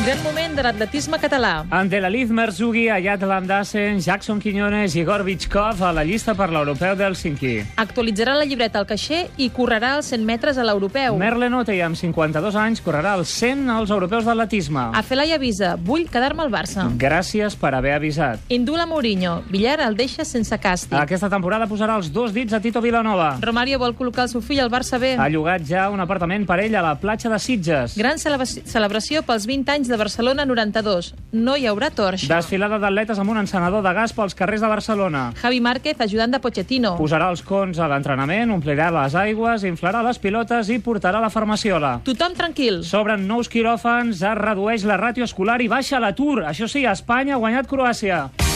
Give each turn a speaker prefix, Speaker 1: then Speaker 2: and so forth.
Speaker 1: Arribem moment de l'atletisme català.
Speaker 2: Andelaliz Merzugi, Ayat Landasen, Jackson Quiñones, Igor Vichkov a la llista per l'europeu d'Helsinki.
Speaker 1: Actualitzarà la llibreta al caixer i correrà els 100 metres a l'europeu.
Speaker 2: Merle Notey, amb 52 anys, correrà els 100 als europeus d'atletisme.
Speaker 1: A Felai avisa, vull quedar-me al Barça.
Speaker 2: Gràcies per haver avisat.
Speaker 1: Indula Mourinho, Villar el deixa sense càstig.
Speaker 2: Aquesta temporada posarà els dos dits a Tito Vilanova.
Speaker 1: Romario vol col·locar el seu fill al Barça B.
Speaker 2: Ha llogat ja un apartament per ell a la platja de Sitges.
Speaker 1: Gran celebra- celebració pels 20 anys de Barcelona 92. No hi haurà torxa.
Speaker 2: Desfilada d'atletes amb un encenedor de gas pels carrers de Barcelona.
Speaker 1: Javi Márquez, ajudant de Pochettino.
Speaker 2: Posarà els cons a l'entrenament, omplirà les aigües, inflarà les pilotes i portarà la farmaciola.
Speaker 1: Tothom tranquil.
Speaker 2: S'obren nous quiròfans, es redueix la ràtio escolar i baixa l'atur. Això sí, Espanya ha guanyat Croàcia.